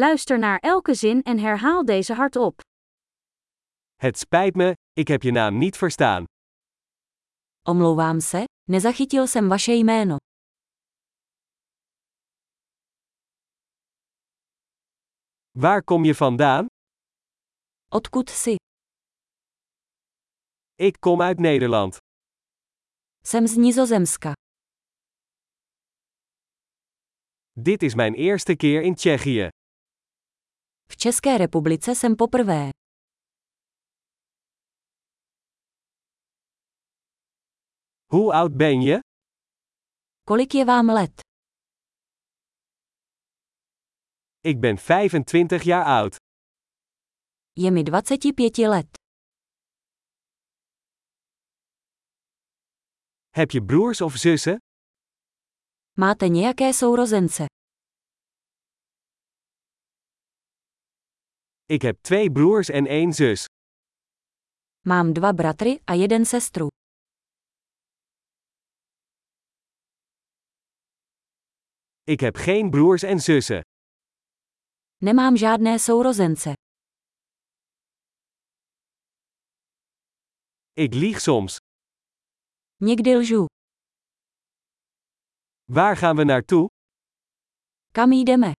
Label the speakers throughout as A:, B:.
A: Luister naar elke zin en herhaal deze hardop.
B: Het spijt me, ik heb je naam niet verstaan.
C: Omlouvám se, nezachytil jsem vaše jméno.
B: Waar kom je vandaan?
C: Odkud jsi?
B: Ik kom uit Nederland.
C: Jsem z Nizozemska.
B: Dit is mijn eerste keer in Tsjechië.
C: V České republice jsem poprvé.
B: Hoe oud ben je?
C: Kolik je vám let?
B: Ik ben 25 jaar oud.
C: Je mi 25 let.
B: Heb je broers of zussen?
C: Máte nějaké sourozence?
B: Ik heb twee broers en één zus.
C: Mám dva bratry a jeden sestru.
B: Ik heb geen broers en zussen.
C: Nemám žádné sourozence.
B: Ik lieg soms.
C: Někdy lžu.
B: Waar gaan we naartoe?
C: Kam jdeme?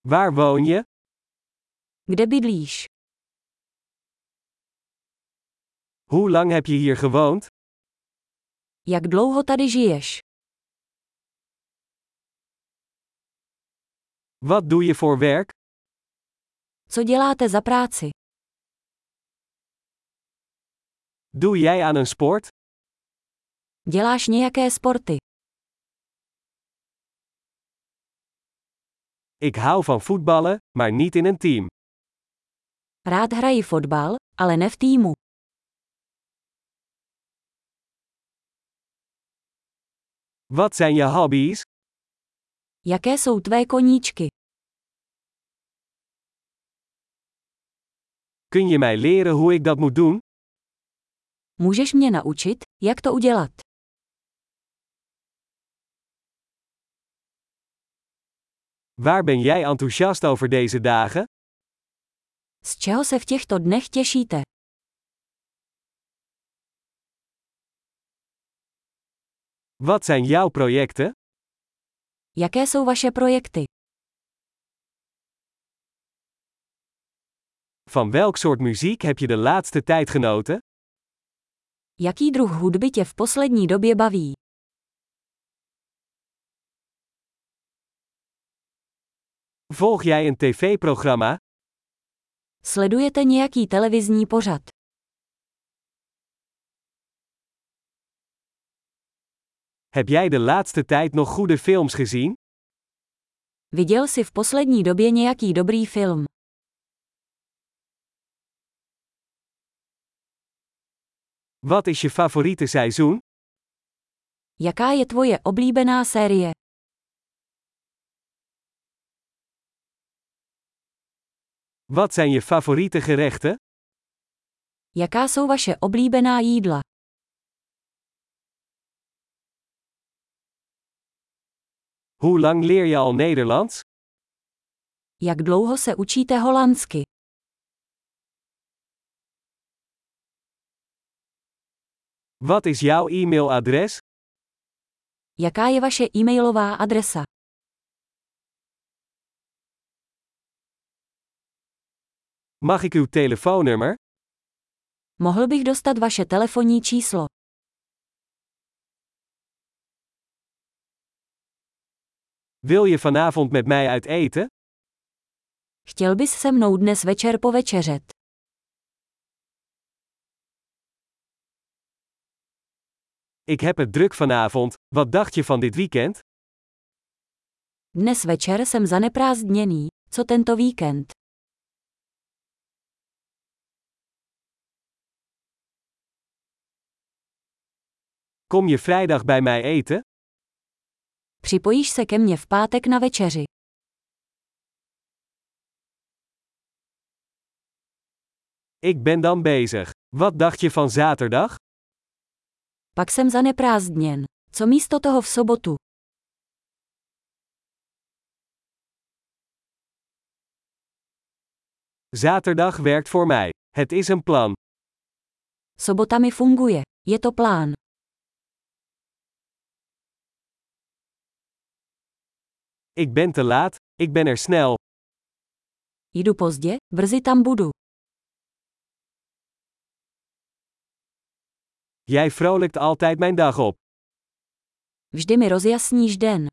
B: Waar woon je?
C: Kde bydlíš?
B: Hoe lang heb je hier gewoond?
C: Jak dlouho tady žiješ?
B: Wat doe je voor werk?
C: Co děláte za práci?
B: Doe jij aan een sport?
C: Děláš nějaké sporty?
B: Ik hou van voetballen, maar niet in een team.
C: Rád hraji fotbal, ale ne v týmu.
B: Wat zijn je hobby's?
C: Jaké jsou tvé koníčky?
B: Kun je mij leren hoe ik dat moet doen?
C: Můžeš mě naučit, jak to udělat?
B: Waar ben jij enthousiast over deze dagen?
C: Z čeho se v těchto dnech těšíte?
B: Wat zijn jouw projecten?
C: Jaké jsou vaše projekty?
B: Van welk soort muziek heb je de laatste tijd genoten?
C: Jaký druh hudby tě v poslední době baví?
B: Volg jij een tv-programma?
C: Sledujete nějaký televizní pořad?
B: Heb jij de laatste tijd nog goede films gezien?
C: Viděl jsi v poslední době nějaký dobrý film?
B: Wat is je favoriete seizoen?
C: Jaká je tvoje oblíbená série?
B: Wat zijn je favoriete gerechten?
C: Jaká jsou vaše oblíbená jídla?
B: Hoe lang leer je al Nederlands?
C: Jak dlouho se učíte holandsky?
B: Wat is jouw e-mailadres?
C: Jaká je vaše e-mailová adresa?
B: Mag ik uw telefoonnummer?
C: Mohl bych dostat vaše telefonní číslo.
B: Wil je vanavond met mij uit eten?
C: Chtěl bys se mnou dnes večer povečeřet?
B: Ik heb het druk vanavond. Wat dacht je van dit weekend?
C: Dnes večer jsem zaneprázdněný, co tento víkend?
B: Kom je vrijdag bij mij eten?
C: Připojíš se ke mně v pátek na večeři.
B: Ik ben dan bezig. Wat dacht je van zaterdag?
C: Pak jsem zaneprázdněn. Co místo toho v sobotu?
B: Zaterdag werkt voor mij. Het is een plan.
D: Sobota mi funguje. Je to plán.
B: Ik ben te laat, ik ben er snel.
D: Jdu pozdě, brzy tam budu.
B: Jij vrolijkt altijd mijn dag op.
D: Vždy mi rozjasníš den.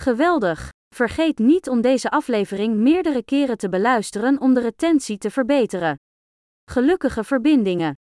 C: Geweldig! Vergeet niet om deze aflevering meerdere keren te beluisteren om de retentie te verbeteren. Gelukkige verbindingen!